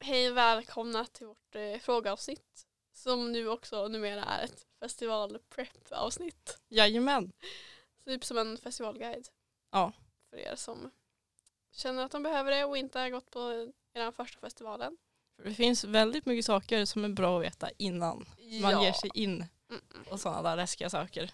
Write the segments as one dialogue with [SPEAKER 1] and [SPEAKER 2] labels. [SPEAKER 1] Hej och välkomna till vårt eh, frågeavsnitt. Som nu också numera är ett festivalprep-avsnitt.
[SPEAKER 2] Jajamän.
[SPEAKER 1] Typ som en festivalguide.
[SPEAKER 2] Ja.
[SPEAKER 1] För er som känner att de behöver det och inte har gått på den första festivalen.
[SPEAKER 2] För Det finns väldigt mycket saker som är bra att veta innan man ger sig in
[SPEAKER 1] Mm,
[SPEAKER 2] på sådana där läskiga saker.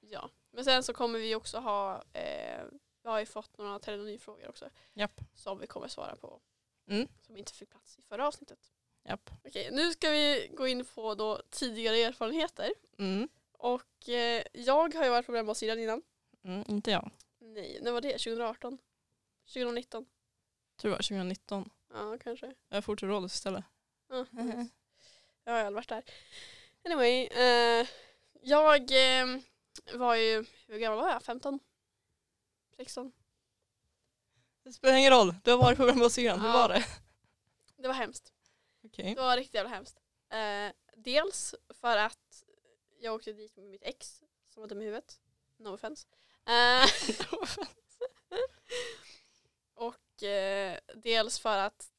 [SPEAKER 1] Ja. Men sen så kommer vi också ha, eh, vi har ju fått några telenonifrågor också.
[SPEAKER 2] Japp.
[SPEAKER 1] Som vi kommer svara på.
[SPEAKER 2] Mm.
[SPEAKER 1] Som inte fick plats i förra avsnittet.
[SPEAKER 2] Japp.
[SPEAKER 1] Okej, nu ska vi gå in på då tidigare erfarenheter.
[SPEAKER 2] Mm.
[SPEAKER 1] Och eh, jag har ju varit på brännbollsyran innan.
[SPEAKER 2] Mm, inte jag.
[SPEAKER 1] Nej, när var det? 2018? 2019?
[SPEAKER 2] Tror det var 2019.
[SPEAKER 1] Ja, kanske.
[SPEAKER 2] Jag är fortfarande istället.
[SPEAKER 1] Ja, jag har ju aldrig varit där. Anyway, eh, jag eh, var ju, hur gammal var jag? 15? 16?
[SPEAKER 2] Det spelar ingen roll. Du har varit på Brännbollsyran. Hur
[SPEAKER 1] Ja.
[SPEAKER 2] var det?
[SPEAKER 1] Det var hemskt.
[SPEAKER 2] Okej.
[SPEAKER 1] Det var riktigt jävla hemskt. Eh, dels för att jag åkte dit med mitt ex som var dum i huvudet. No offense. Eh, och eh, dels för att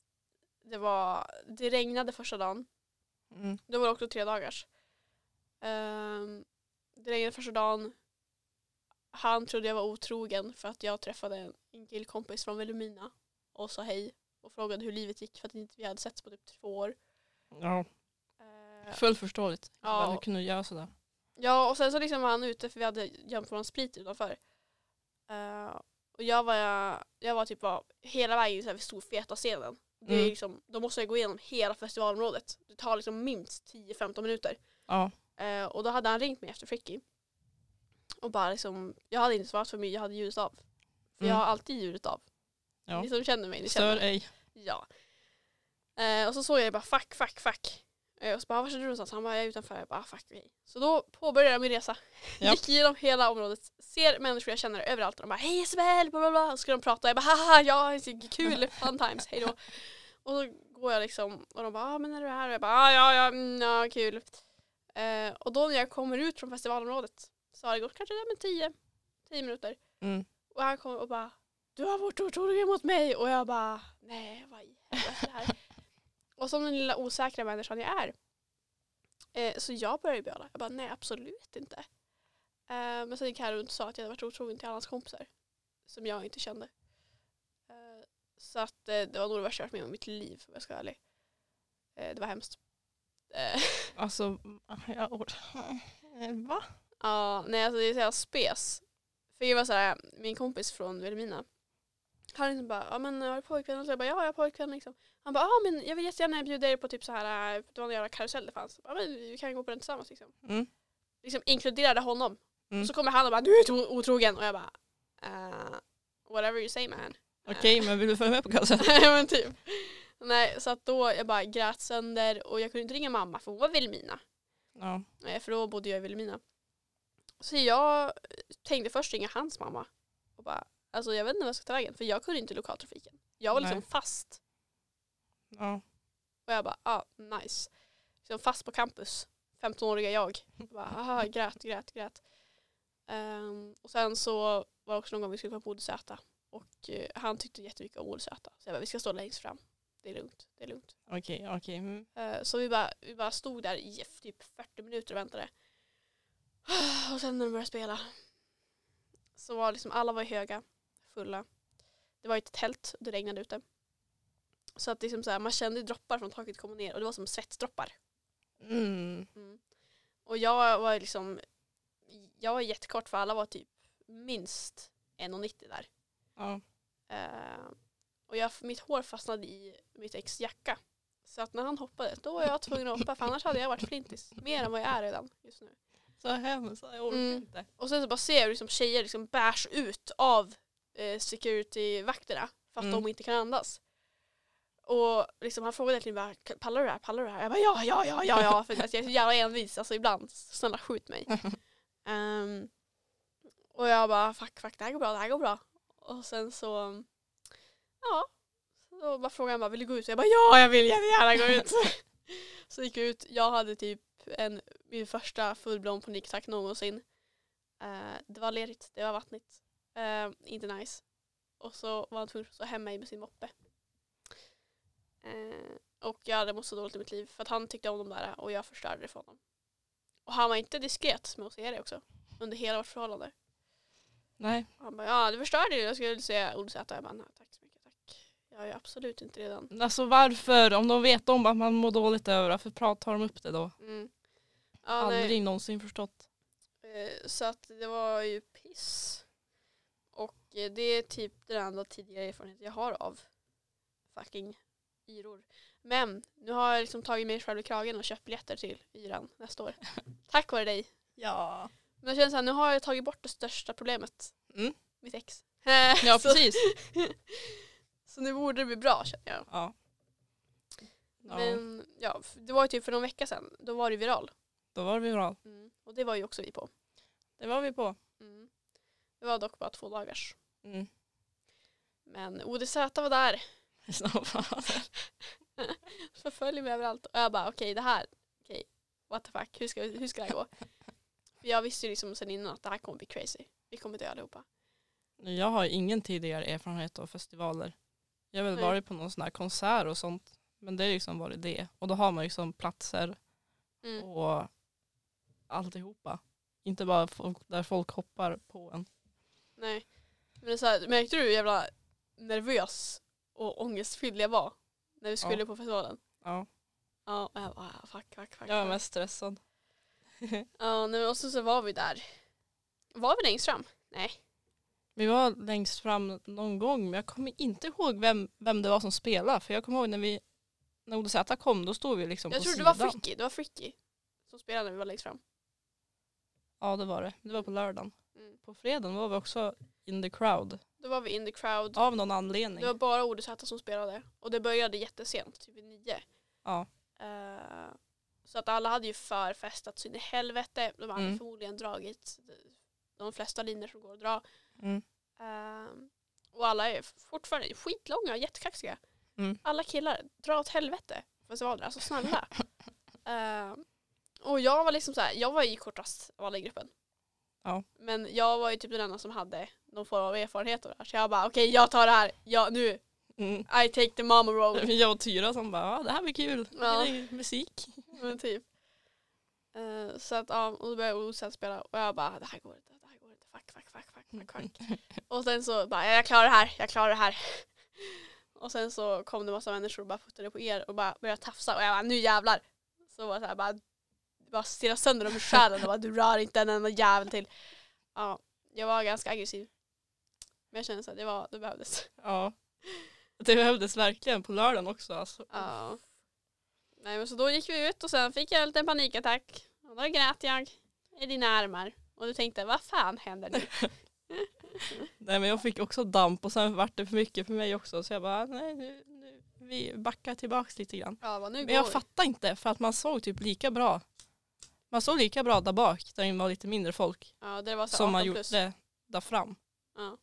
[SPEAKER 1] det, var, det regnade första dagen.
[SPEAKER 2] Mm.
[SPEAKER 1] Det var också tre dagars. Ehm, det regnade första dagen. Han trodde jag var otrogen för att jag träffade en- en killkompis från Vilhelmina och sa hej och frågade hur livet gick för att inte vi hade setts på typ två år.
[SPEAKER 2] Ja.
[SPEAKER 1] Eh,
[SPEAKER 2] Fullt förståeligt.
[SPEAKER 1] Ja.
[SPEAKER 2] Ja. Du kunde göra sådär.
[SPEAKER 1] Ja och sen så liksom var han ute för vi hade gömt vår sprit utanför. Eh, och jag var, jag var typ bara hela vägen så här vid Storfeta-scenen. Det är
[SPEAKER 2] Mm.
[SPEAKER 1] liksom, då måste jag gå igenom hela festivalområdet. Det tar liksom minst 10-15 minuter.
[SPEAKER 2] Ja.
[SPEAKER 1] Eh, och då hade han ringt mig efter Fricky. Och bara liksom, jag hade inte svarat för mig, jag hade ljudet av. För jag
[SPEAKER 2] Mm.
[SPEAKER 1] har alltid ljudet av.
[SPEAKER 2] Ja.
[SPEAKER 1] Ni som känner mig, ni känner
[SPEAKER 2] Stör
[SPEAKER 1] mig.
[SPEAKER 2] ej.
[SPEAKER 1] Ja. Eh, och så såg jag det bara fuck, fuck, fuck. Eh, och så bara vart är du någonstans? Han bara jag är utanför. Jag bara ah, fuck okej. Så då påbörjade jag min resa.
[SPEAKER 2] Ja.
[SPEAKER 1] Gick igenom hela området. Ser människor jag känner överallt. Och de bara hej Isabel! Bla, bla, bla. Och så ska de prata. Jag bara haha ja det är kul, fun times, hej då. Och så går jag liksom och de bara ah, men är du här? Och jag bara ah, ja ja, mm, ja kul. Eh, och då när jag kommer ut från festivalområdet så har det gått kanske ja, men 10 10 minuter.
[SPEAKER 2] Mm.
[SPEAKER 1] Och han kom och bara Du har varit otrogen mot mig och jag bara Nej vad i helvete är det här? Och som den lilla osäkra människan jag är eh, Så jag började böla Jag bara nej absolut inte eh, Men sen gick han runt och sa att jag hade varit otrogen till alla hans kompisar Som jag inte kände eh, Så att eh, det var nog det värsta jag varit med om i mitt liv om jag ska vara ärlig eh, Det var hemskt eh,
[SPEAKER 2] Alltså, jag or- Eh, Va?
[SPEAKER 1] Ja, nej alltså det är så jävla spes. För det var så här, min kompis från Vilhelmina. Han liksom bara, ja men har du pojkvän? Och så jag bara, ja jag har pojkvän liksom. Han bara, ja men jag vill jättegärna bjuda er på typ så här, eh, det var en jävla karusell det fanns. Ja men vi kan gå på den tillsammans liksom.
[SPEAKER 2] Mm.
[SPEAKER 1] Liksom inkluderade honom.
[SPEAKER 2] Mm.
[SPEAKER 1] Och så kommer han och bara, du är to- otrogen. Och jag bara, eh, whatever you say man.
[SPEAKER 2] Okej, men vill du följa med på kassen?
[SPEAKER 1] Nej men typ. Nej så att då jag bara grät sönder och jag kunde inte ringa mamma för hon var i Vilhelmina.
[SPEAKER 2] Ja.
[SPEAKER 1] Eh, För då bodde jag i Vilhelmina. Så jag tänkte först ringa hans mamma. Och bara, alltså jag vet inte vad jag ska ta vägen. För jag kunde inte lokaltrafiken. Jag var liksom
[SPEAKER 2] Nej.
[SPEAKER 1] fast.
[SPEAKER 2] ja.
[SPEAKER 1] Och jag bara, ah, nice. Liksom fast på campus. 15-åriga jag. jag bara, aha, grät, grät, grät. Ehm, och sen så var det också någon gång vi skulle vara på Odsäta. Och eh, han tyckte jättemycket om Odsäta. Så jag bara, vi ska stå längst fram. Det är lugnt, det är lugnt.
[SPEAKER 2] Okej, okej. Mm.
[SPEAKER 1] Eh, Så vi bara, vi bara stod där i f- typ 40 minuter och väntade. Och sen när de började spela så var liksom alla var höga, fulla. Det var ju ett tält och det regnade ute. Så att liksom så här, man kände ju droppar från taket komma ner och det var som svettdroppar.
[SPEAKER 2] Mm.
[SPEAKER 1] Och jag var ju liksom, jag var jättekort för alla var typ minst 1,90 där.
[SPEAKER 2] Ja.
[SPEAKER 1] Eh, och jag, mitt hår fastnade i mitt ex jacka. Så att när han hoppade, då var jag tvungen att hoppa för annars hade jag varit flintis. Mer än vad jag är redan just nu.
[SPEAKER 2] Så hemskt, jag orkar
[SPEAKER 1] Mm.
[SPEAKER 2] inte.
[SPEAKER 1] Och sen så bara ser jag hur liksom, tjejer liksom bärs ut av eh, security-vakterna för att
[SPEAKER 2] Mm.
[SPEAKER 1] de inte kan andas. Och liksom, han frågade verkligen bara, pallar du det här, pallar du det här? Jag bara ja, ja, ja, ja, ja. För att jag är så jävla envis, alltså ibland, snälla skjut mig. Ehm, och jag bara fuck, fuck, det här går bra, det här går bra. Och sen så, ja, så bara frågade han bara, vill du gå ut? Och jag bara ja, jag vill jättegärna gå ut. så gick jag ut, jag hade typ en, min första fullblom panikattack någonsin. Eh, det var lerigt, det var vattnigt. Eh, inte nice. Och så var han tvungen att skjutsa hem mig med sin moppe. Eh, Och jag hade mått så dåligt i mitt liv för att han tyckte om de där och jag förstörde det för honom. Och han var inte diskret med att säga det också. Under hela vårt förhållande.
[SPEAKER 2] Nej.
[SPEAKER 1] Han bara, ja du förstörde det, jag skulle säga ord Z. Jag bara, nej tack så mycket, tack. Jag är absolut inte redan.
[SPEAKER 2] Alltså varför, om de vet om att man mår dåligt över varför pra- tar de upp det då?
[SPEAKER 1] Mm. Ja, nej.
[SPEAKER 2] Aldrig någonsin förstått.
[SPEAKER 1] Eh, Så att det var ju piss. Och eh, det är typ den enda tidigare erfarenheten jag har av fucking yror. Men nu har jag liksom tagit mig själv i kragen och köpt biljetter till yran nästa år. Tack vare dig.
[SPEAKER 2] Ja.
[SPEAKER 1] Men jag känner såhär, nu har jag tagit bort det största problemet.
[SPEAKER 2] Mm.
[SPEAKER 1] Mitt ex.
[SPEAKER 2] Ja
[SPEAKER 1] så,
[SPEAKER 2] precis.
[SPEAKER 1] så nu borde det bli bra känner jag.
[SPEAKER 2] Ja. ja.
[SPEAKER 1] Men ja, f- det var ju typ för någon vecka sedan. Då var det viral.
[SPEAKER 2] Då var vi bra.
[SPEAKER 1] Och det var ju också vi på.
[SPEAKER 2] Det var vi på.
[SPEAKER 1] Det var dock bara två dagars.
[SPEAKER 2] Mm.
[SPEAKER 1] Men ODZ var där.
[SPEAKER 2] Snabbt.
[SPEAKER 1] förföljer mig överallt. Och jag bara okej det här, okej what the fuck, hur ska, hur ska det här gå? För jag visste ju liksom sen innan att det här kommer bli crazy. Vi kommer dö allihopa.
[SPEAKER 2] jag har ingen tidigare erfarenhet av festivaler. Jag har väl
[SPEAKER 1] Nej.
[SPEAKER 2] varit på någon sån här konsert och sånt. Men det är liksom varit det. Och då har man liksom platser
[SPEAKER 1] Mm.
[SPEAKER 2] och alltihopa. Inte bara folk, där folk hoppar på en.
[SPEAKER 1] Nej. Men det är så här, märkte du hur jävla nervös och ångestfylld jag var när vi skulle på festivalen?
[SPEAKER 2] Ja.
[SPEAKER 1] Ja, och jag bara ah, fuck, fuck, fuck.
[SPEAKER 2] Jag är
[SPEAKER 1] fuck.
[SPEAKER 2] mest stressad.
[SPEAKER 1] Ja, nej, men och så, så var vi där. Var vi längst fram? Nej.
[SPEAKER 2] Vi var längst fram någon gång men jag kommer inte ihåg vem, vem det var som spelade. För jag kommer ihåg när vi när ODZ kom då stod vi liksom
[SPEAKER 1] Jag
[SPEAKER 2] på
[SPEAKER 1] tror det var
[SPEAKER 2] sidan.
[SPEAKER 1] Fricky, det var Fricky som spelade när vi var längst fram.
[SPEAKER 2] Ja det var det. Det var på lördagen.
[SPEAKER 1] Mm.
[SPEAKER 2] På fredagen var vi också in the crowd.
[SPEAKER 1] Då var vi in the crowd.
[SPEAKER 2] Av någon anledning.
[SPEAKER 1] Det var bara Odyssäta som spelade och det började jättesent, typ vid nio.
[SPEAKER 2] Ja.
[SPEAKER 1] Eh, så att alla hade ju förfestat så in i helvete. De hade
[SPEAKER 2] Mm.
[SPEAKER 1] förmodligen dragit de flesta linjer som går att dra.
[SPEAKER 2] Mm.
[SPEAKER 1] Ehm, och alla är fortfarande skitlånga och jättekaxiga.
[SPEAKER 2] Mm.
[SPEAKER 1] Alla killar, dra åt helvete. Festivaler, alltså snälla. Ehm, och jag var liksom så här, jag var ju kortast av alla i gruppen.
[SPEAKER 2] Ja.
[SPEAKER 1] Men jag var ju typ den enda som hade någon form av erfarenhet av det här. Så jag bara okej jag tar det här, ja, nu,
[SPEAKER 2] Mm.
[SPEAKER 1] I take the mama roll.
[SPEAKER 2] Jag och Tyra som bara, ja det här blir kul.
[SPEAKER 1] Ja.
[SPEAKER 2] Det är musik.
[SPEAKER 1] Men typ. Eh, så att ja, och då började Osen spela och jag bara det här går inte, det här går inte, fuck, fuck, fuck, fuck,
[SPEAKER 2] Mm.
[SPEAKER 1] fuck, fuck. Och sen så bara jag klarar det här, jag klarar det här. Och sen så kom det massa människor och bara puttade på er och bara började tafsa och jag bara nu jävlar. Så var det så här bara, bara stirra sönder dem i själen och bara du rör inte en enda jävel till. Ja, jag var ganska aggressiv. Men jag kände så här, det var, det behövdes.
[SPEAKER 2] Ja. Det behövdes verkligen på lördagen också. Alltså.
[SPEAKER 1] Ja. Nej men så då gick vi ut och sen fick jag en liten panikattack. Och då grät jag i dina armar. Och du tänkte, vad fan händer nu?
[SPEAKER 2] Nej men jag fick också damp och sen vart det för mycket för mig också. Så jag bara, nej nu, nu vi backar tillbaks lite grann.
[SPEAKER 1] Ja, vad nu
[SPEAKER 2] Men jag fattar inte för att man såg typ lika bra. Man såg lika bra där bak där det var lite mindre folk.
[SPEAKER 1] Ja, det var så
[SPEAKER 2] som man
[SPEAKER 1] 18
[SPEAKER 2] gjorde
[SPEAKER 1] Alltså, plus.
[SPEAKER 2] där fram.
[SPEAKER 1] Ja.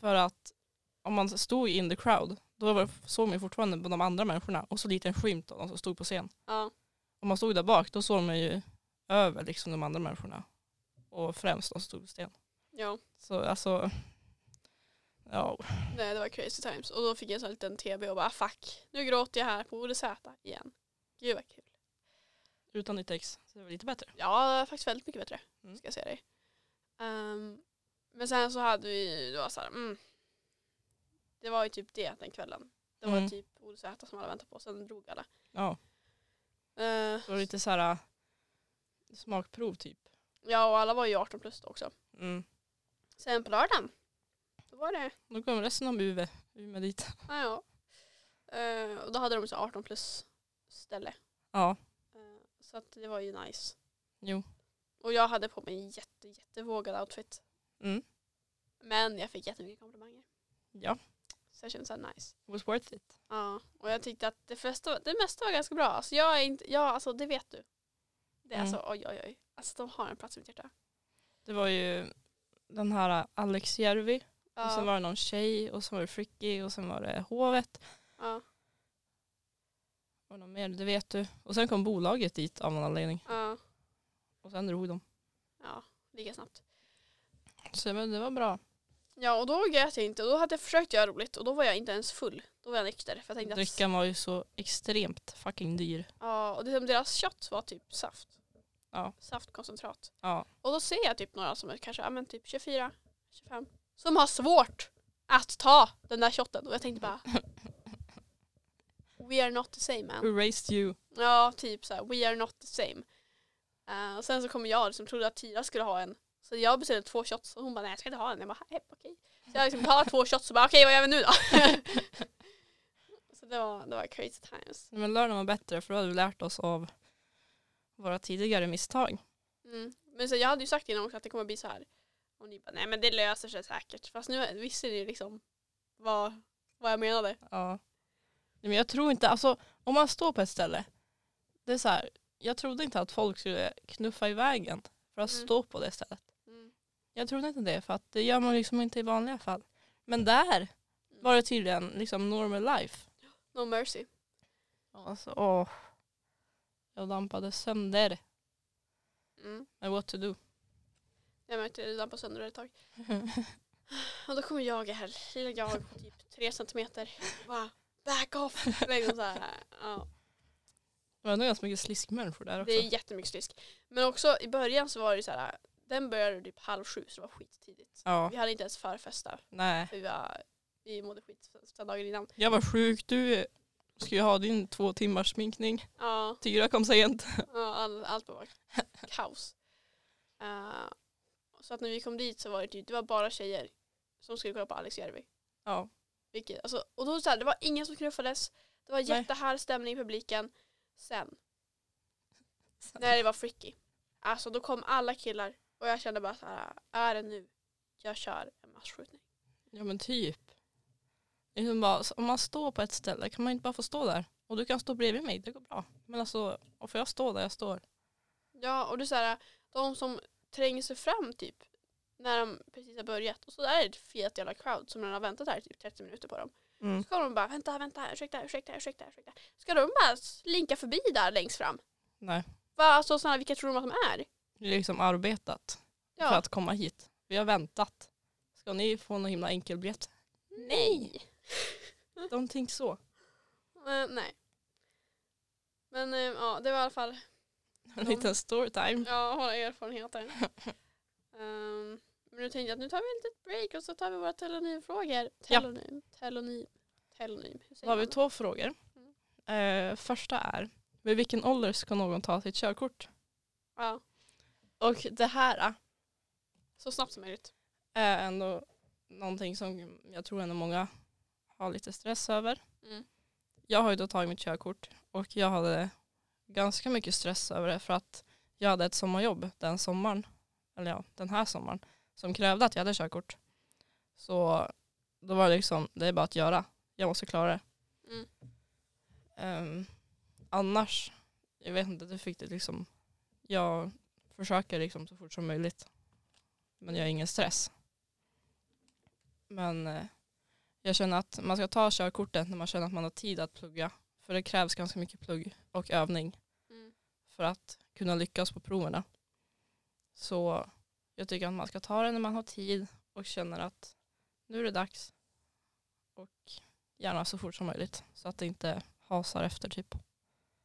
[SPEAKER 2] För att om man stod in the crowd då var, såg man ju fortfarande på de andra människorna och så lite en skymt av de som stod på scen.
[SPEAKER 1] Ja,
[SPEAKER 2] Om man stod där bak då såg man ju över liksom de andra människorna. Och främst de som stod på scen.
[SPEAKER 1] ja.
[SPEAKER 2] Så alltså, ja.
[SPEAKER 1] Nej, det var crazy times. Och då fick jag en sån här liten TB och bara fuck, nu gråter jag här på ODZ igen. Gud vad kul.
[SPEAKER 2] Utan ditt ex så det var lite bättre.
[SPEAKER 1] Ja, det var faktiskt väldigt mycket bättre.
[SPEAKER 2] Mm.
[SPEAKER 1] Ska jag säga dig. Ehm, men sen så hade vi, det var så här, mm. Det var ju typ det den kvällen. Det var
[SPEAKER 2] Mm.
[SPEAKER 1] typ ODZ som alla väntade på, sen drog alla.
[SPEAKER 2] Ja,
[SPEAKER 1] Eh,
[SPEAKER 2] det var lite så här äh, smakprov typ.
[SPEAKER 1] Ja och alla var ju 18 plus då också.
[SPEAKER 2] Mm.
[SPEAKER 1] Sen på lördagen, då var det,
[SPEAKER 2] Då kom resten av Uve, Umeå dit.
[SPEAKER 1] ja ja. Eh, och då hade de så 18 plus ställe.
[SPEAKER 2] Ja,
[SPEAKER 1] Eh, så att det var ju nice.
[SPEAKER 2] jo.
[SPEAKER 1] Och jag hade på mig en jätte, jättevågad outfit.
[SPEAKER 2] Mm.
[SPEAKER 1] Men jag fick jättemycket komplimanger.
[SPEAKER 2] Ja,
[SPEAKER 1] Så jag kände såhär nice.
[SPEAKER 2] it was worth it.
[SPEAKER 1] Ja, och jag tyckte att det, flesta, det mesta var ganska bra. Alltså jag är inte, ja alltså det vet du. Det är
[SPEAKER 2] Mm.
[SPEAKER 1] alltså oj oj oj. Alltså de har en plats i mitt hjärta.
[SPEAKER 2] Det var ju den här äh, Alex Järvi och sen
[SPEAKER 1] Ja,
[SPEAKER 2] var det någon tjej och sen var det Fricky och sen var det Hovet
[SPEAKER 1] ja,
[SPEAKER 2] och någon mer, det vet du. Och sen kom bolaget dit av någon anledning
[SPEAKER 1] ja,
[SPEAKER 2] och sen drog de.
[SPEAKER 1] ja, lika snabbt.
[SPEAKER 2] Så men det var bra.
[SPEAKER 1] Ja och då grät jag inte. Då hade jag försökt göra roligt och då var jag inte ens full. Då var jag nykter. För jag tänkte att,
[SPEAKER 2] Drickan var ju så extremt fucking dyr.
[SPEAKER 1] ja, och det, som deras kött var typ saft.
[SPEAKER 2] Ja.
[SPEAKER 1] Saftkoncentrat.
[SPEAKER 2] Ja.
[SPEAKER 1] Och då ser jag typ några som är kanske ja, men typ 24, 25. Som har svårt att ta den där shotten. Och jag tänkte bara We are not the same man.
[SPEAKER 2] Who raised you?
[SPEAKER 1] Ja, typ så här, we are not the same. Eh, och sen så kommer jag som trodde att Tira skulle ha en. Så jag beställde två shots och hon bara nej jag ska inte ha en. Jag bara hepp okej. Så jag liksom tar två shots och bara okej vad gör vi nu då? så det var, det var crazy times.
[SPEAKER 2] Men lördagen var bättre för då hade vi lärt oss av våra tidigare misstag.
[SPEAKER 1] Mm. Men så jag hade ju sagt innan också att det kommer bli så här. Och ni bara nej men det löser sig säkert. Fast nu visste ni liksom vad, vad jag menade.
[SPEAKER 2] Ja. Nej, Men jag tror inte, alltså om man står på ett ställe, det är så här, jag trodde inte att folk skulle knuffa i vägen för att
[SPEAKER 1] Mm.
[SPEAKER 2] stå på det stället. Jag trodde inte det för att det gör man liksom inte i vanliga fall. Men där var det tydligen liksom normal life.
[SPEAKER 1] Mm. No mercy.
[SPEAKER 2] Alltså, åh. Jag dampade sönder.
[SPEAKER 1] Mm.
[SPEAKER 2] Men what to do?
[SPEAKER 1] Jag märkte det redan på sönder ett tag. Och då kommer jag här, lilla jag, på typ tre centimeter. Bara back off! Liksom så här. Ja,
[SPEAKER 2] Det var ändå ganska mycket sliskmänniskor där också.
[SPEAKER 1] det är jättemycket slisk. Men också i början så var det så här, den började typ halv sju så det var skittidigt.
[SPEAKER 2] Ja,
[SPEAKER 1] Vi hade inte ens förfesta
[SPEAKER 2] nej.
[SPEAKER 1] för vi, var, vi mådde skit sedan dagen innan.
[SPEAKER 2] Jag var sjuk, du ska ju ha din två timmars sminkning.
[SPEAKER 1] Ja,
[SPEAKER 2] Tyra kom sent.
[SPEAKER 1] ja, all, allt bara var kaos. Eh, så att när vi kom dit så var det typ, det var bara tjejer som skulle kolla på Alex Järvi.
[SPEAKER 2] Ja.
[SPEAKER 1] Vilket, alltså, och då så här, det var ingen som knuffades. Det var
[SPEAKER 2] Nej.
[SPEAKER 1] jättehärlig stämning i publiken. Sen, när det var freaky. Alltså då kom alla killar och jag kände bara så här, är det nu jag kör en massskjutning?
[SPEAKER 2] Ja men typ. Liksom bara, så om man står på ett ställe kan man inte bara få stå där. Och du kan stå bredvid mig, det går bra. Men alltså, och får jag stå där jag står?
[SPEAKER 1] Ja och det är så här, de som tränger sig fram typ när de precis har börjat och så är det ett fet jävla crowd som redan har väntat här i typ 30 minuter på dem.
[SPEAKER 2] Mm.
[SPEAKER 1] Så kommer de bara vänta, vänta, ursäkta, ursäkta, ursäkta, ursäkta. Ska de bara slinka förbi där längst fram?
[SPEAKER 2] Nej,
[SPEAKER 1] Va, alltså sådana, vilka tror de att de är?
[SPEAKER 2] det är liksom arbetat för
[SPEAKER 1] Ja.
[SPEAKER 2] att komma hit. Vi har väntat. Ska ni få någon himla enkelbiljett?
[SPEAKER 1] Nej!
[SPEAKER 2] De tänker så.
[SPEAKER 1] Eh, nej. Men eh, ja, det var i alla fall
[SPEAKER 2] En liten storytime.
[SPEAKER 1] ja, våra erfarenheter. Ehm, men nu tänkte jag att nu tar vi ett litet break och så tar vi våra telonymfrågor. Telonym, telonym, telonym. Hur
[SPEAKER 2] Då har vi
[SPEAKER 1] man?
[SPEAKER 2] två frågor. Eh, första är, vid vilken ålder ska någon ta sitt körkort?
[SPEAKER 1] Ja,
[SPEAKER 2] Och det här eh,
[SPEAKER 1] så snabbt som möjligt.
[SPEAKER 2] är ändå någonting som jag tror ändå många har lite stress över.
[SPEAKER 1] Mm.
[SPEAKER 2] Jag har ju då tagit mitt körkort och jag hade ganska mycket stress över det för att jag hade ett sommarjobb den sommaren, eller ja, den här sommaren, som krävde att jag hade körkort. Så då var det liksom, det är bara att göra. Jag måste klara det.
[SPEAKER 1] Mm.
[SPEAKER 2] Ehm, annars, jag vet inte, det fick det liksom, jag försöker liksom så fort som möjligt. Men jag har ingen stress. Men eh, jag känner att man ska ta körkortet när man känner att man har tid att plugga. För det krävs ganska mycket plugg och övning
[SPEAKER 1] Mm.
[SPEAKER 2] för att kunna lyckas på proverna. Så jag tycker att man ska ta det när man har tid och känner att nu är det dags. Och gärna så fort som möjligt så att det inte hasar efter typ.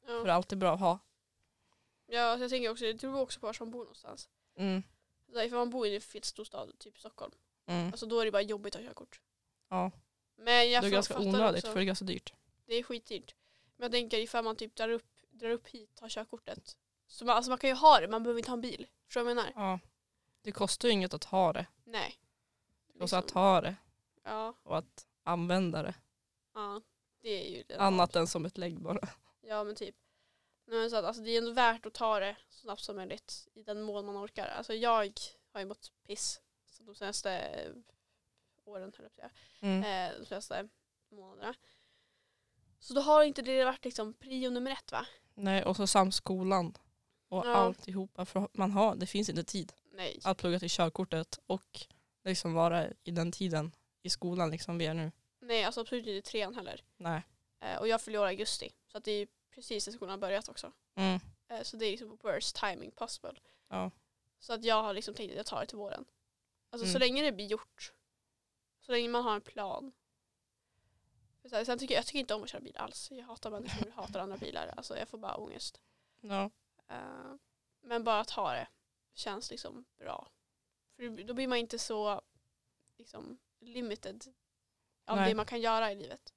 [SPEAKER 2] För det
[SPEAKER 1] Ja.
[SPEAKER 2] är alltid bra att ha.
[SPEAKER 1] Ja, så jag tänker också, det beror också på var som bor någonstans.
[SPEAKER 2] Mm.
[SPEAKER 1] Så ifall man bor i en fet stor stad, typ Stockholm,
[SPEAKER 2] Mm.
[SPEAKER 1] alltså då är det bara jobbigt att ha körkort.
[SPEAKER 2] Ja.
[SPEAKER 1] Men jag
[SPEAKER 2] Det är ganska
[SPEAKER 1] fattar
[SPEAKER 2] onödigt
[SPEAKER 1] också-
[SPEAKER 2] för det är ganska dyrt.
[SPEAKER 1] Det är skitdyrt. Men jag tänker ifall man typ drar upp, drar upp hit, tar körkortet. Så man, alltså man kan ju ha det, man behöver inte ha en bil. Förstår du vad jag menar?
[SPEAKER 2] Ja. Det kostar ju inget att ha det.
[SPEAKER 1] Nej.
[SPEAKER 2] Och så att
[SPEAKER 1] Liksom,
[SPEAKER 2] ha det,
[SPEAKER 1] Ja,
[SPEAKER 2] använda det.
[SPEAKER 1] ja, det är ju det.
[SPEAKER 2] Annat än som ett lägg bara.
[SPEAKER 1] Ja men typ. Nej, men så att, alltså, det är ändå värt att ta det så snabbt som möjligt i den mån man orkar. Alltså jag har ju mått piss så de senaste eh, åren, höll jag på att säga.
[SPEAKER 2] Mm.
[SPEAKER 1] eh, de senaste månaderna. Så då har inte det varit liksom prio nummer ett va?
[SPEAKER 2] Nej, och så samt skolan och
[SPEAKER 1] Ja.
[SPEAKER 2] alltihopa. För man har, det finns inte tid
[SPEAKER 1] Nej.
[SPEAKER 2] att plugga till körkortet och liksom vara i den tiden i skolan liksom vi är nu.
[SPEAKER 1] Nej, alltså absolut inte i trean heller.
[SPEAKER 2] Nej.
[SPEAKER 1] Eh, och jag fyller år i augusti. Så att det är precis när skolan har börjat också.
[SPEAKER 2] Mm.
[SPEAKER 1] Eh, så det är liksom worst timing possible.
[SPEAKER 2] Ja.
[SPEAKER 1] Så att jag har liksom tänkt att jag tar det till våren. Alltså så
[SPEAKER 2] Mm.
[SPEAKER 1] länge det blir gjort Så länge man har en plan. För så här, Sen tycker jag, jag tycker inte om att köra bil alls. Jag hatar människor, jag hatar andra bilar. Alltså jag får bara ångest.
[SPEAKER 2] Ja.
[SPEAKER 1] Eh, men bara att ha det känns liksom bra. För då- då blir man inte så liksom, limited av
[SPEAKER 2] Nej.
[SPEAKER 1] det man kan göra i livet.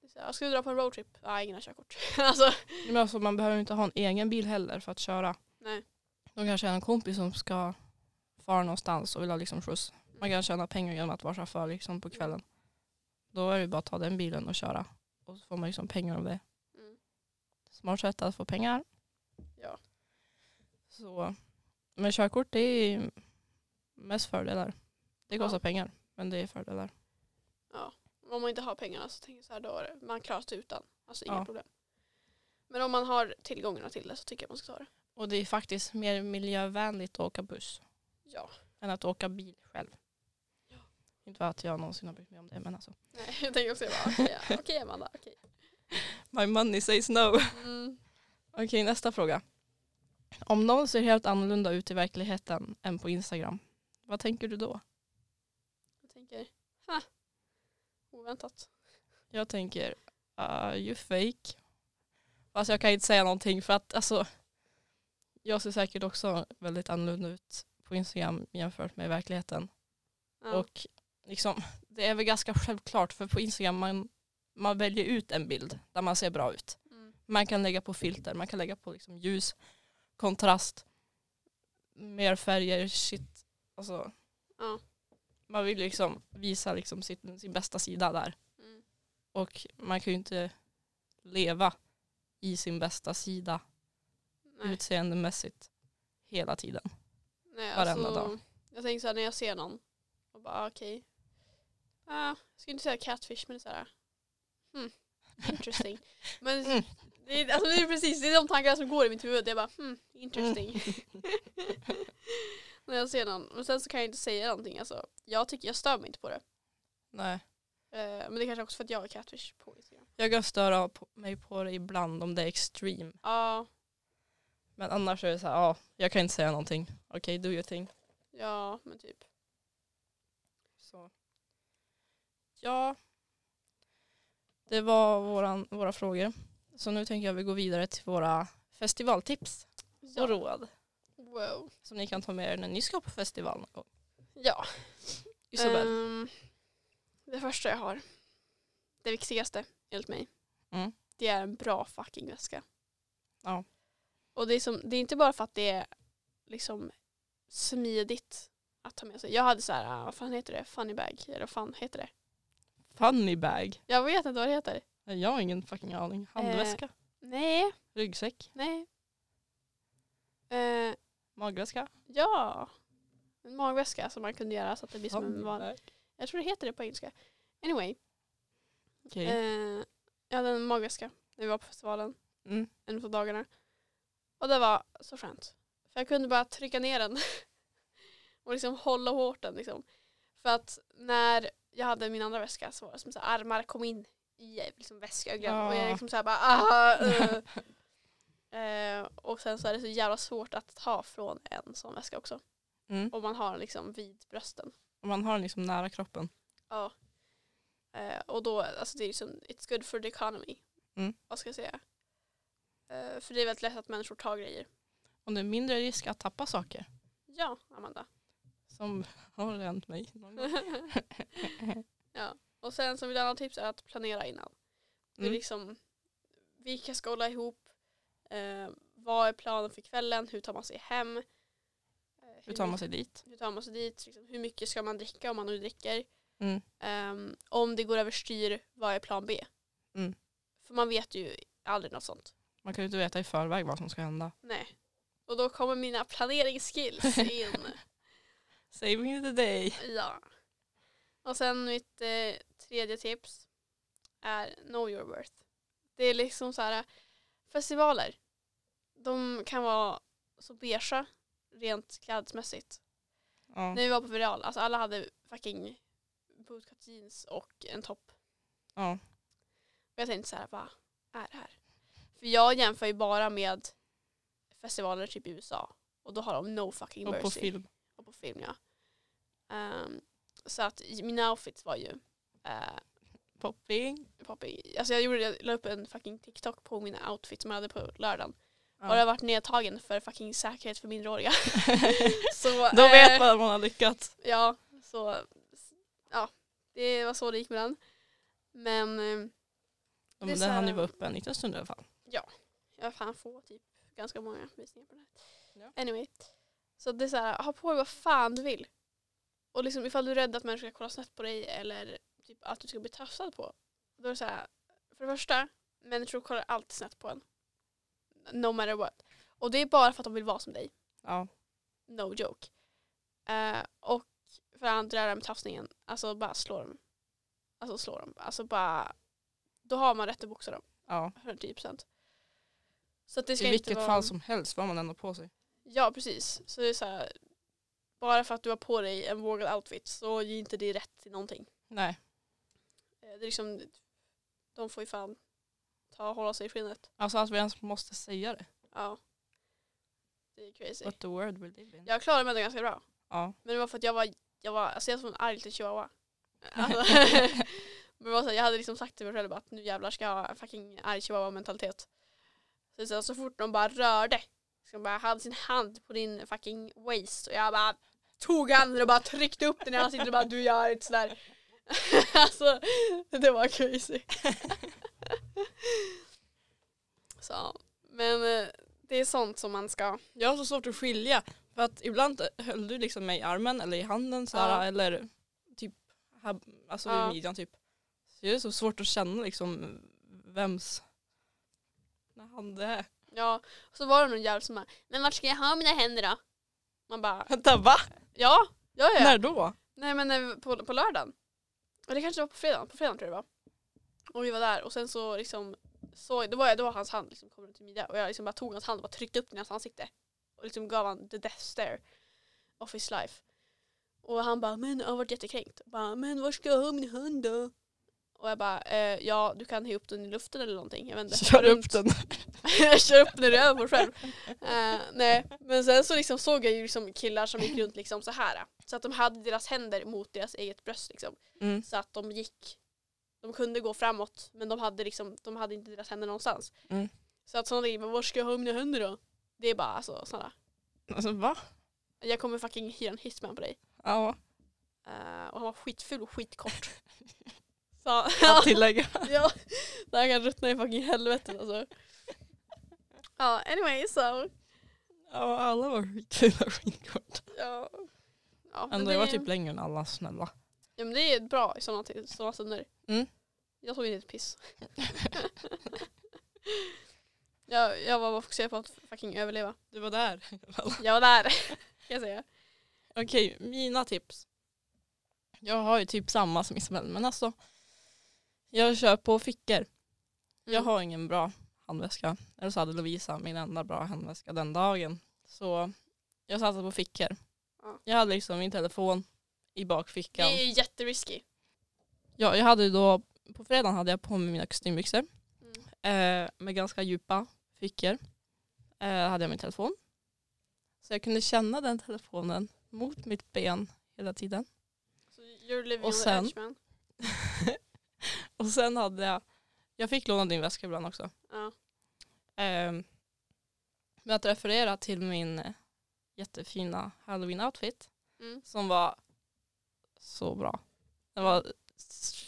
[SPEAKER 1] Det är så här, Jag skulle dra på en roadtrip. Nej, ingen har körkort. alltså,
[SPEAKER 2] Men alltså, man behöver inte ha en egen bil heller för att köra.
[SPEAKER 1] nej.
[SPEAKER 2] De kanske är en kompis som ska fara någonstans och vill ha liksom skjuts. Man kan tjäna pengar genom att vara chaufför liksom på kvällen. Då är det bara att ta den bilen och köra. Och så får man liksom pengar av det.
[SPEAKER 1] Mm.
[SPEAKER 2] Smart sätt att få pengar.
[SPEAKER 1] Ja.
[SPEAKER 2] Så. Men körkort det är ju mest fördelar. Det
[SPEAKER 1] Ja.
[SPEAKER 2] kostar pengar men det är fördelar.
[SPEAKER 1] Om man inte har pengarna så tänker jag så här, då är det, man klarar sig utan. Alltså inga
[SPEAKER 2] Ja.
[SPEAKER 1] problem. Men om man har tillgångarna till det så tycker jag man ska ta det.
[SPEAKER 2] Och det är faktiskt mer miljövänligt att åka buss
[SPEAKER 1] Ja.
[SPEAKER 2] än att åka bil själv.
[SPEAKER 1] Ja.
[SPEAKER 2] Inte för att jag någonsin har brytt mig om det men alltså.
[SPEAKER 1] Nej, jag tänker också bara, okej ja, okej, Amanda, okej.
[SPEAKER 2] My money says no.
[SPEAKER 1] Mm.
[SPEAKER 2] Okej, nästa fråga. Om någon ser helt annorlunda ut i verkligheten än på Instagram, vad tänker du då?
[SPEAKER 1] Jag tänker, ha, oväntat.
[SPEAKER 2] Jag tänker, uh, you fake. Fast jag kan inte säga någonting för att alltså, jag ser säkert också väldigt annorlunda ut på Instagram jämfört med i verkligheten.
[SPEAKER 1] Ja.
[SPEAKER 2] Och liksom, det är väl ganska självklart för på Instagram man, man väljer ut en bild där man ser bra ut.
[SPEAKER 1] Mm.
[SPEAKER 2] Man kan lägga på filter, man kan lägga på liksom ljus, kontrast, mer färger, shit. Alltså,
[SPEAKER 1] Ja.
[SPEAKER 2] Man vill liksom visa liksom sin, sin bästa sida där.
[SPEAKER 1] Mm.
[SPEAKER 2] Och man kan ju inte leva i sin bästa sida
[SPEAKER 1] Nej.
[SPEAKER 2] utseendemässigt hela tiden.
[SPEAKER 1] Nej,
[SPEAKER 2] Varenda
[SPEAKER 1] alltså,
[SPEAKER 2] dag.
[SPEAKER 1] Jag tänker såhär när jag ser någon och bara ah, okej. Ah, jag skulle inte säga catfish men det är såhär. Hmm, interesting. Men
[SPEAKER 2] Mm.
[SPEAKER 1] det, är, alltså, det är precis det är de tankarna som går i mitt huvud. Jag bara hmm, interesting.
[SPEAKER 2] Mm.
[SPEAKER 1] när jag ser någon. Men sen så kan jag inte säga någonting. Alltså, jag, tycker, jag stör mig inte på det.
[SPEAKER 2] Nej.
[SPEAKER 1] Eh, men det kanske också för att jag är catfish på Instagram.
[SPEAKER 2] Jag kan störa på- mig på det ibland om det är extreme.
[SPEAKER 1] Ja,
[SPEAKER 2] Men annars är det så här, ja, jag kan inte säga någonting. Okej, do your thing.
[SPEAKER 1] ja men typ.
[SPEAKER 2] Så. Ja, det var våran, våra frågor. Så nu tänker jag vi gå vidare till våra festivaltips och
[SPEAKER 1] Ja.
[SPEAKER 2] råd
[SPEAKER 1] Wow.
[SPEAKER 2] som ni kan ta med er när ni ska på festival. någon gång.
[SPEAKER 1] Ja.
[SPEAKER 2] Isabel,
[SPEAKER 1] Ehm, det första jag har, det viktigaste enligt mig,
[SPEAKER 2] Mm.
[SPEAKER 1] det är en bra fucking väska.
[SPEAKER 2] Ja.
[SPEAKER 1] Och det är, som, det är inte bara för att det är liksom smidigt att ta med sig. Jag hade så här, ah, vad fan heter det, funny bag, eller vad fan heter det?
[SPEAKER 2] funny bag.
[SPEAKER 1] Jag vet inte vad det heter.
[SPEAKER 2] Nej, Jag har ingen fucking aning.
[SPEAKER 1] Eh.
[SPEAKER 2] Handväska,
[SPEAKER 1] Nej,
[SPEAKER 2] ryggsäck,
[SPEAKER 1] nej. Eh,
[SPEAKER 2] magväska.
[SPEAKER 1] ja, en magväska som man kunde göra så att det blir som en vanlig.
[SPEAKER 2] bag.
[SPEAKER 1] Jag tror det heter det på engelska. Anyway,
[SPEAKER 2] Okej.
[SPEAKER 1] eh, jag hade en magväska när vi var på festivalen.
[SPEAKER 2] Mm.
[SPEAKER 1] en på dagarna. Och det var så skönt. För jag kunde bara trycka ner den och liksom hålla hårt den. Liksom. För att när jag hade min andra väska så var det som så här, armar kom in i eh, liksom väskögonen
[SPEAKER 2] Ja.
[SPEAKER 1] och jag liksom så här bara ah, eh. Eh, och sen så är det så jävla svårt att ta från en sån väska också.
[SPEAKER 2] Mm.
[SPEAKER 1] Om man har den liksom vid brösten.
[SPEAKER 2] Om Man har den liksom nära kroppen.
[SPEAKER 1] Ja. Eh, och då, alltså det är ju som, it's good for the economy.
[SPEAKER 2] Mm.
[SPEAKER 1] Vad ska jag säga? Eh, för det är väldigt lätt att människor tar grejer.
[SPEAKER 2] Och det är mindre risk att tappa saker.
[SPEAKER 1] Ja, Amanda.
[SPEAKER 2] Som har hänt mig någon gång.
[SPEAKER 1] ja. Och sen som ett annat tips är att planera innan. Det är
[SPEAKER 2] Mm.
[SPEAKER 1] liksom, vilka ska hålla ihop? Eh, vad är planen för kvällen? Hur tar man sig hem? Eh,
[SPEAKER 2] Hur tar man sig dit?
[SPEAKER 1] hur tar man sig dit? Liksom, hur mycket ska man dricka om man nu dricker?
[SPEAKER 2] Mm.
[SPEAKER 1] Ehm, om det går överstyr, vad är plan B?
[SPEAKER 2] Mm.
[SPEAKER 1] För man vet ju aldrig något sånt.
[SPEAKER 2] Man kan ju inte veta i förväg vad som ska hända.
[SPEAKER 1] Nej. Och då kommer mina planeringsskills in.
[SPEAKER 2] Saving the day.
[SPEAKER 1] Ja. Och sen mitt eh, tredje tips är know your worth. Det är liksom så här festivaler. De kan vara så beiga rent klädesmässigt.
[SPEAKER 2] Ja.
[SPEAKER 1] När vi var på Viral, alltså alla hade fucking bootcut jeans och en topp.
[SPEAKER 2] ja.
[SPEAKER 1] Och jag tänkte så här, vad är det här? För jag jämför ju bara med festivaler typ i USA. Och då har de no fucking
[SPEAKER 2] Och
[SPEAKER 1] mercy.
[SPEAKER 2] på film.
[SPEAKER 1] och på film ja. Ehm, Så att mina outfits var ju eh,
[SPEAKER 2] Popping.
[SPEAKER 1] popping. Alltså jag, gjorde, jag la upp en fucking TikTok på mina outfits som jag hade på lördagen.
[SPEAKER 2] Ja.
[SPEAKER 1] Och det har varit nedtagen för fucking säkerhet för minderåriga. så,
[SPEAKER 2] Då vet
[SPEAKER 1] eh,
[SPEAKER 2] man att man har lyckats.
[SPEAKER 1] Ja, så ja, det var så det gick med den. Men eh,
[SPEAKER 2] Ja,
[SPEAKER 1] det är
[SPEAKER 2] Men
[SPEAKER 1] så
[SPEAKER 2] den
[SPEAKER 1] här-
[SPEAKER 2] hann ju vara uppe en liten stund i alla fall.
[SPEAKER 1] jag fan få typ ganska många visningar på det.
[SPEAKER 2] Ja.
[SPEAKER 1] Anyway. Så det är så här, ha på dig vad fan du vill. Och liksom ifall du är rädd att människor ska kolla snett på dig eller typ att du ska bli tafsad på. Då är det så här, för det första, människor kollar alltid snett på en. No matter what. Och det är bara för att de vill vara som dig.
[SPEAKER 2] Ja.
[SPEAKER 1] No joke. Eh, och för det andra, det här med tafsningen. Alltså bara slå dem. Alltså slå dem. Alltså bara. Då har man rätt att boxa dem.
[SPEAKER 2] ja.
[SPEAKER 1] 110%. Så att det ska
[SPEAKER 2] I vilket
[SPEAKER 1] inte vara...
[SPEAKER 2] fall som helst vad man ändå på sig.
[SPEAKER 1] Ja, precis. Så det är så här. Bara för att du har på dig en vågad outfit så ger inte det rätt till någonting.
[SPEAKER 2] Nej.
[SPEAKER 1] Eh, Det är liksom, de får ju fan ta och hålla sig i skinnet.
[SPEAKER 2] Alltså att vi ens måste säga det.
[SPEAKER 1] Ja. Det är crazy.
[SPEAKER 2] What the world we live in.
[SPEAKER 1] Jag klarade mig ändå ganska bra.
[SPEAKER 2] Ja.
[SPEAKER 1] Men det var för att jag var, jag var, alltså jag var som en arg liten chihuahua. Alltså, men det var så här, jag hade liksom sagt till mig själv att nu jävlar ska jag ha en fucking arg chihuahua-mentalitet. Så, så, så fort de bara rörde, så de bara hade sin hand på din fucking waist och jag bara tog handen och bara tryckte upp den i ansiktet och bara du gör inte sådär. alltså det var crazy. så, men eh, det är sånt som man ska
[SPEAKER 2] Jag har så svårt att skilja. För att ibland höll du liksom mig i armen eller i handen så här,
[SPEAKER 1] Ja.
[SPEAKER 2] eller typ här, alltså
[SPEAKER 1] Ja.
[SPEAKER 2] vid midjan typ. Så det är så svårt att känna liksom vems när han det är.
[SPEAKER 1] Ja, och så var det någon jävel som bara, men vart ska jag ha mina händer då? Man bara,
[SPEAKER 2] Vänta va?
[SPEAKER 1] ja, ja, ja.
[SPEAKER 2] När då?
[SPEAKER 1] Nej men eh, på, på lördagen. Eller kanske det var på fredagen, på fredagen tror jag det var. Och vi var där och sen så liksom såg, då var jag, då var hans hand liksom kom runt till midja och jag liksom bara tog hans hand och bara tryckte upp den i hans ansikte. Och liksom gav han the death stare of his life. Och han bara, men jag har varit jättekränkt. Och Bara, men var ska jag ha min hand då? Och jag bara, eh, ja du kan ha upp den i luften eller någonting. Jag vet inte.
[SPEAKER 2] Kör
[SPEAKER 1] Runt-
[SPEAKER 2] upp den.
[SPEAKER 1] jag kör upp när du är på själv. Eh, nej. Men sen så liksom såg jag ju liksom killar som gick runt liksom så här. Så att de hade deras händer mot deras eget bröst. Liksom.
[SPEAKER 2] Mm.
[SPEAKER 1] Så att de gick, de kunde gå framåt men de hade, liksom, de hade inte deras händer någonstans.
[SPEAKER 2] Mm.
[SPEAKER 1] Så att sådana grejer, men var ska jag ha mina händer då? Det är bara alltså snälla.
[SPEAKER 2] Alltså va?
[SPEAKER 1] Jag kommer fucking hyra en hitman på dig.
[SPEAKER 2] Ja,
[SPEAKER 1] Eh, och han var skitful och skitkort. så,
[SPEAKER 2] att tillägga.
[SPEAKER 1] Ja, det här kan ruttna i fucking helvetet alltså. Ja, anyway so.
[SPEAKER 2] Ja, alla var skitfula skinnkort.
[SPEAKER 1] Ja. Ja, men
[SPEAKER 2] Ändå jag var
[SPEAKER 1] det-
[SPEAKER 2] typ längre än alla, snälla.
[SPEAKER 1] Ja men det är bra i sådana såna stunder.
[SPEAKER 2] Mm.
[SPEAKER 1] Jag tog inte ett piss. jag, jag var bara fokuserad på att fucking överleva.
[SPEAKER 2] Du var där.
[SPEAKER 1] Jag var där. kan jag
[SPEAKER 2] Mm.
[SPEAKER 1] säga.
[SPEAKER 2] Okej, mina tips. Jag har ju typ samma som Isabel, men alltså jag kör på fickor.
[SPEAKER 1] Mm.
[SPEAKER 2] Jag har ingen bra handväska. Eller så hade Lovisa min enda bra handväska den dagen. Så jag satsade på fickor.
[SPEAKER 1] Ja.
[SPEAKER 2] Jag hade liksom min telefon i
[SPEAKER 1] Det
[SPEAKER 2] bakfickan.
[SPEAKER 1] är jätterisky.
[SPEAKER 2] Ja, jag hade ju då, på fredagen hade jag på mig mina kostymbyxor
[SPEAKER 1] Mm.
[SPEAKER 2] eh, med ganska djupa fickor. Eh, hade jag min telefon. Så jag kunde känna den telefonen mot mitt ben hela tiden.
[SPEAKER 1] Så you're living
[SPEAKER 2] Och
[SPEAKER 1] on the
[SPEAKER 2] sen-
[SPEAKER 1] edge man.
[SPEAKER 2] Och sen hade jag, jag fick låna din väska ibland också.
[SPEAKER 1] Ja.
[SPEAKER 2] Ehm, men att referera till min eh, jättefina halloween-outfit
[SPEAKER 1] Mm.
[SPEAKER 2] som var så bra. Den var s-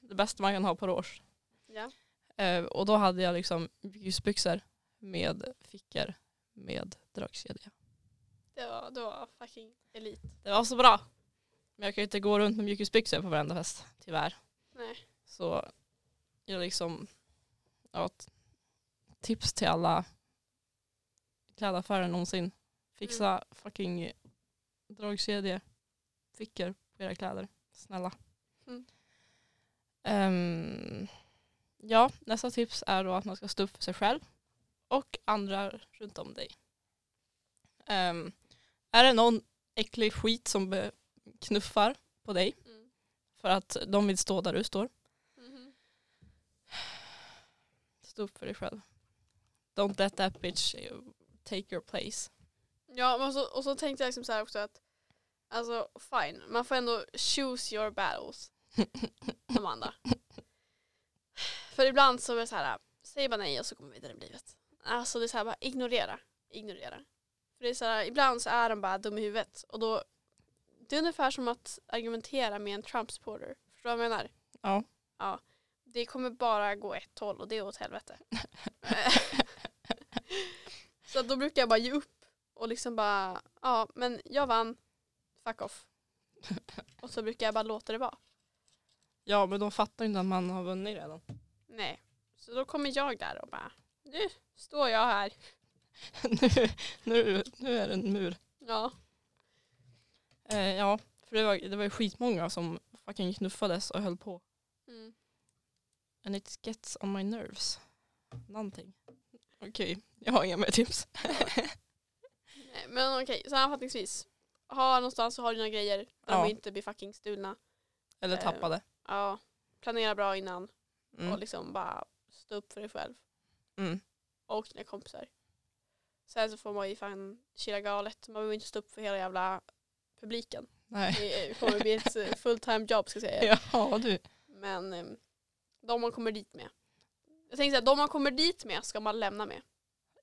[SPEAKER 2] det bästa man kan ha på rouge.
[SPEAKER 1] Ja.
[SPEAKER 2] Ehm, och då hade jag liksom ljusbyxor med fickor med dragkedja.
[SPEAKER 1] Det var, det var fucking elit.
[SPEAKER 2] Det var så bra. Men jag kan ju inte gå runt med mjukisbyxor på varenda fest, tyvärr.
[SPEAKER 1] Nej.
[SPEAKER 2] Så jag liksom, ja, ett tips till alla klädaffärer någonsin. Fixa
[SPEAKER 1] Mm.
[SPEAKER 2] fucking dragkedjor, fickor på era kläder. Snälla.
[SPEAKER 1] Mm.
[SPEAKER 2] Ehm, ja, nästa tips är då att man ska stå upp för sig själv och andra runt om dig. Ehm, är det någon äcklig skit som be- knuffar på dig
[SPEAKER 1] Mm.
[SPEAKER 2] för att de vill stå där du står
[SPEAKER 1] Mhm.
[SPEAKER 2] Stå upp för dig själv. Don't let that bitch eh, take your place.
[SPEAKER 1] alltså, Ja men och så, och så tänkte jag liksom så här också att Alltså fine, man får ändå choose your battles. Amanda. För ibland så är det så här, säg bara nej och så går man vidare i livet. Alltså det är så här, bara ignorera. Ignorera. För det är så här, ibland så är de bara dum i huvudet. Och då, det är ungefär som att argumentera med en Trump-supporter. Förstår du vad jag menar?
[SPEAKER 2] Ja.
[SPEAKER 1] Ja. Det kommer bara gå ett håll och det är åt helvete. så då brukar jag bara ge upp. Och liksom bara, ja men jag vann fuck off. Och så brukar jag bara låta det vara.
[SPEAKER 2] Ja, men de fattar ju inte att man har vunnit redan.
[SPEAKER 1] Nej. Så då kommer jag där och bara, nu står jag här.
[SPEAKER 2] nu, nu, nu är det en mur.
[SPEAKER 1] Ja.
[SPEAKER 2] Eh, ja, för det var, det var ju skitmånga som fucking knuffades och höll på.
[SPEAKER 1] Mm.
[SPEAKER 2] And it gets on my nerves. Någonting. Okej, jag har inga mer tips.
[SPEAKER 1] Nej, Men okej, sammanfattningsvis. Ha någonstans och ha dina grejer. Där
[SPEAKER 2] Ja.
[SPEAKER 1] de inte blir fucking stulna.
[SPEAKER 2] Eller
[SPEAKER 1] Eh,
[SPEAKER 2] tappade.
[SPEAKER 1] Ja. Planera bra innan. Och
[SPEAKER 2] Mm.
[SPEAKER 1] liksom bara stå upp för dig själv.
[SPEAKER 2] Mm.
[SPEAKER 1] Och dina kompisar. Sen så får man ju fan chilla galet. Man behöver inte stå upp för hela jävla publiken.
[SPEAKER 2] Nej.
[SPEAKER 1] Det kommer bli ett eh, full-time jobb ska jag säga.
[SPEAKER 2] Ja, du.
[SPEAKER 1] Men eh, de man kommer dit med. Jag tänker såhär, de man kommer dit med ska man lämna med.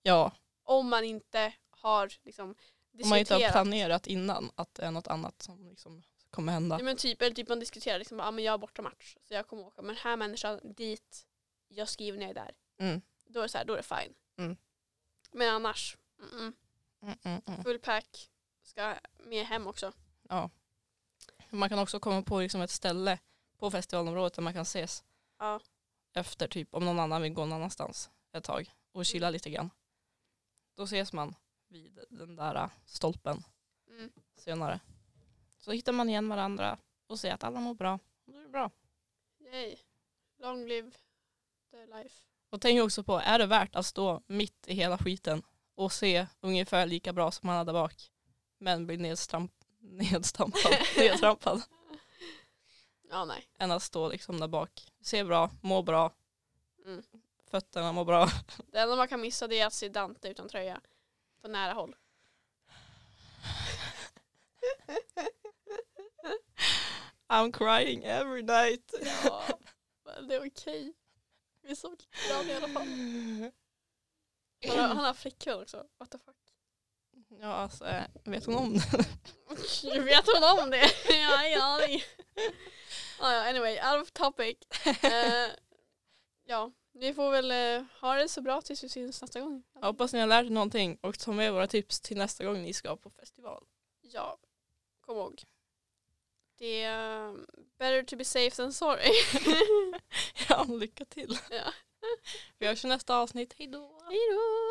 [SPEAKER 2] Ja,
[SPEAKER 1] Om man inte har liksom
[SPEAKER 2] om man inte har
[SPEAKER 1] diskuterat.
[SPEAKER 2] planerat innan att det är något annat som liksom kommer hända.
[SPEAKER 1] Ja, men typ, eller typ man diskuterar liksom, ah, men jag är borta match så jag kommer åka med den här människan dit, jag skriver när jag är där.
[SPEAKER 2] Mm.
[SPEAKER 1] Då är det, så här, då är det fine.
[SPEAKER 2] Mm.
[SPEAKER 1] Men annars, mm-mm.
[SPEAKER 2] Mm, mm, mm.
[SPEAKER 1] full pack, ska med hem också.
[SPEAKER 2] Man kan också komma på liksom ett ställe på festivalområdet där man kan ses.
[SPEAKER 1] Ja.
[SPEAKER 2] Efter typ om någon annan vill gå någon annanstans ett tag och chilla lite grann. Då ses man vid den där äh, stolpen
[SPEAKER 1] Mm.
[SPEAKER 2] senare. Så hittar man igen varandra och ser att alla mår bra. Då är det bra.
[SPEAKER 1] Yay. Long live the life.
[SPEAKER 2] Och tänk också på, är det värt att stå mitt i hela skiten och se ungefär lika bra som man hade bak men bli nedstramp- nedstampad, nedtrampad
[SPEAKER 1] Ja nej.
[SPEAKER 2] än att stå liksom där bak. Se bra, må bra,
[SPEAKER 1] Mm.
[SPEAKER 2] fötterna mår bra.
[SPEAKER 1] Det enda man kan missa det är att se Dante utan tröja. På nära håll.
[SPEAKER 2] I'm crying every night.
[SPEAKER 1] Ja, men det är okej. Vi såg likadan i alla fall. Han har, han har flickvän också. What the fuck.
[SPEAKER 2] Ja, alltså, eh, vet hon om det?
[SPEAKER 1] Vet hon om det? Jag har ingen aning. Ah, ja, anyway, out of topic. Eh, ja, ni får väl eh, ha det så bra tills vi syns nästa gång.
[SPEAKER 2] Jag hoppas ni har lärt er någonting och tar med våra tips till nästa gång ni ska på festival.
[SPEAKER 1] Ja, kom ihåg. Det är eh, better to be safe than sorry.
[SPEAKER 2] Ja, lycka till.
[SPEAKER 1] Ja.
[SPEAKER 2] Vi hörs i nästa avsnitt. Hej då!
[SPEAKER 1] Hej då!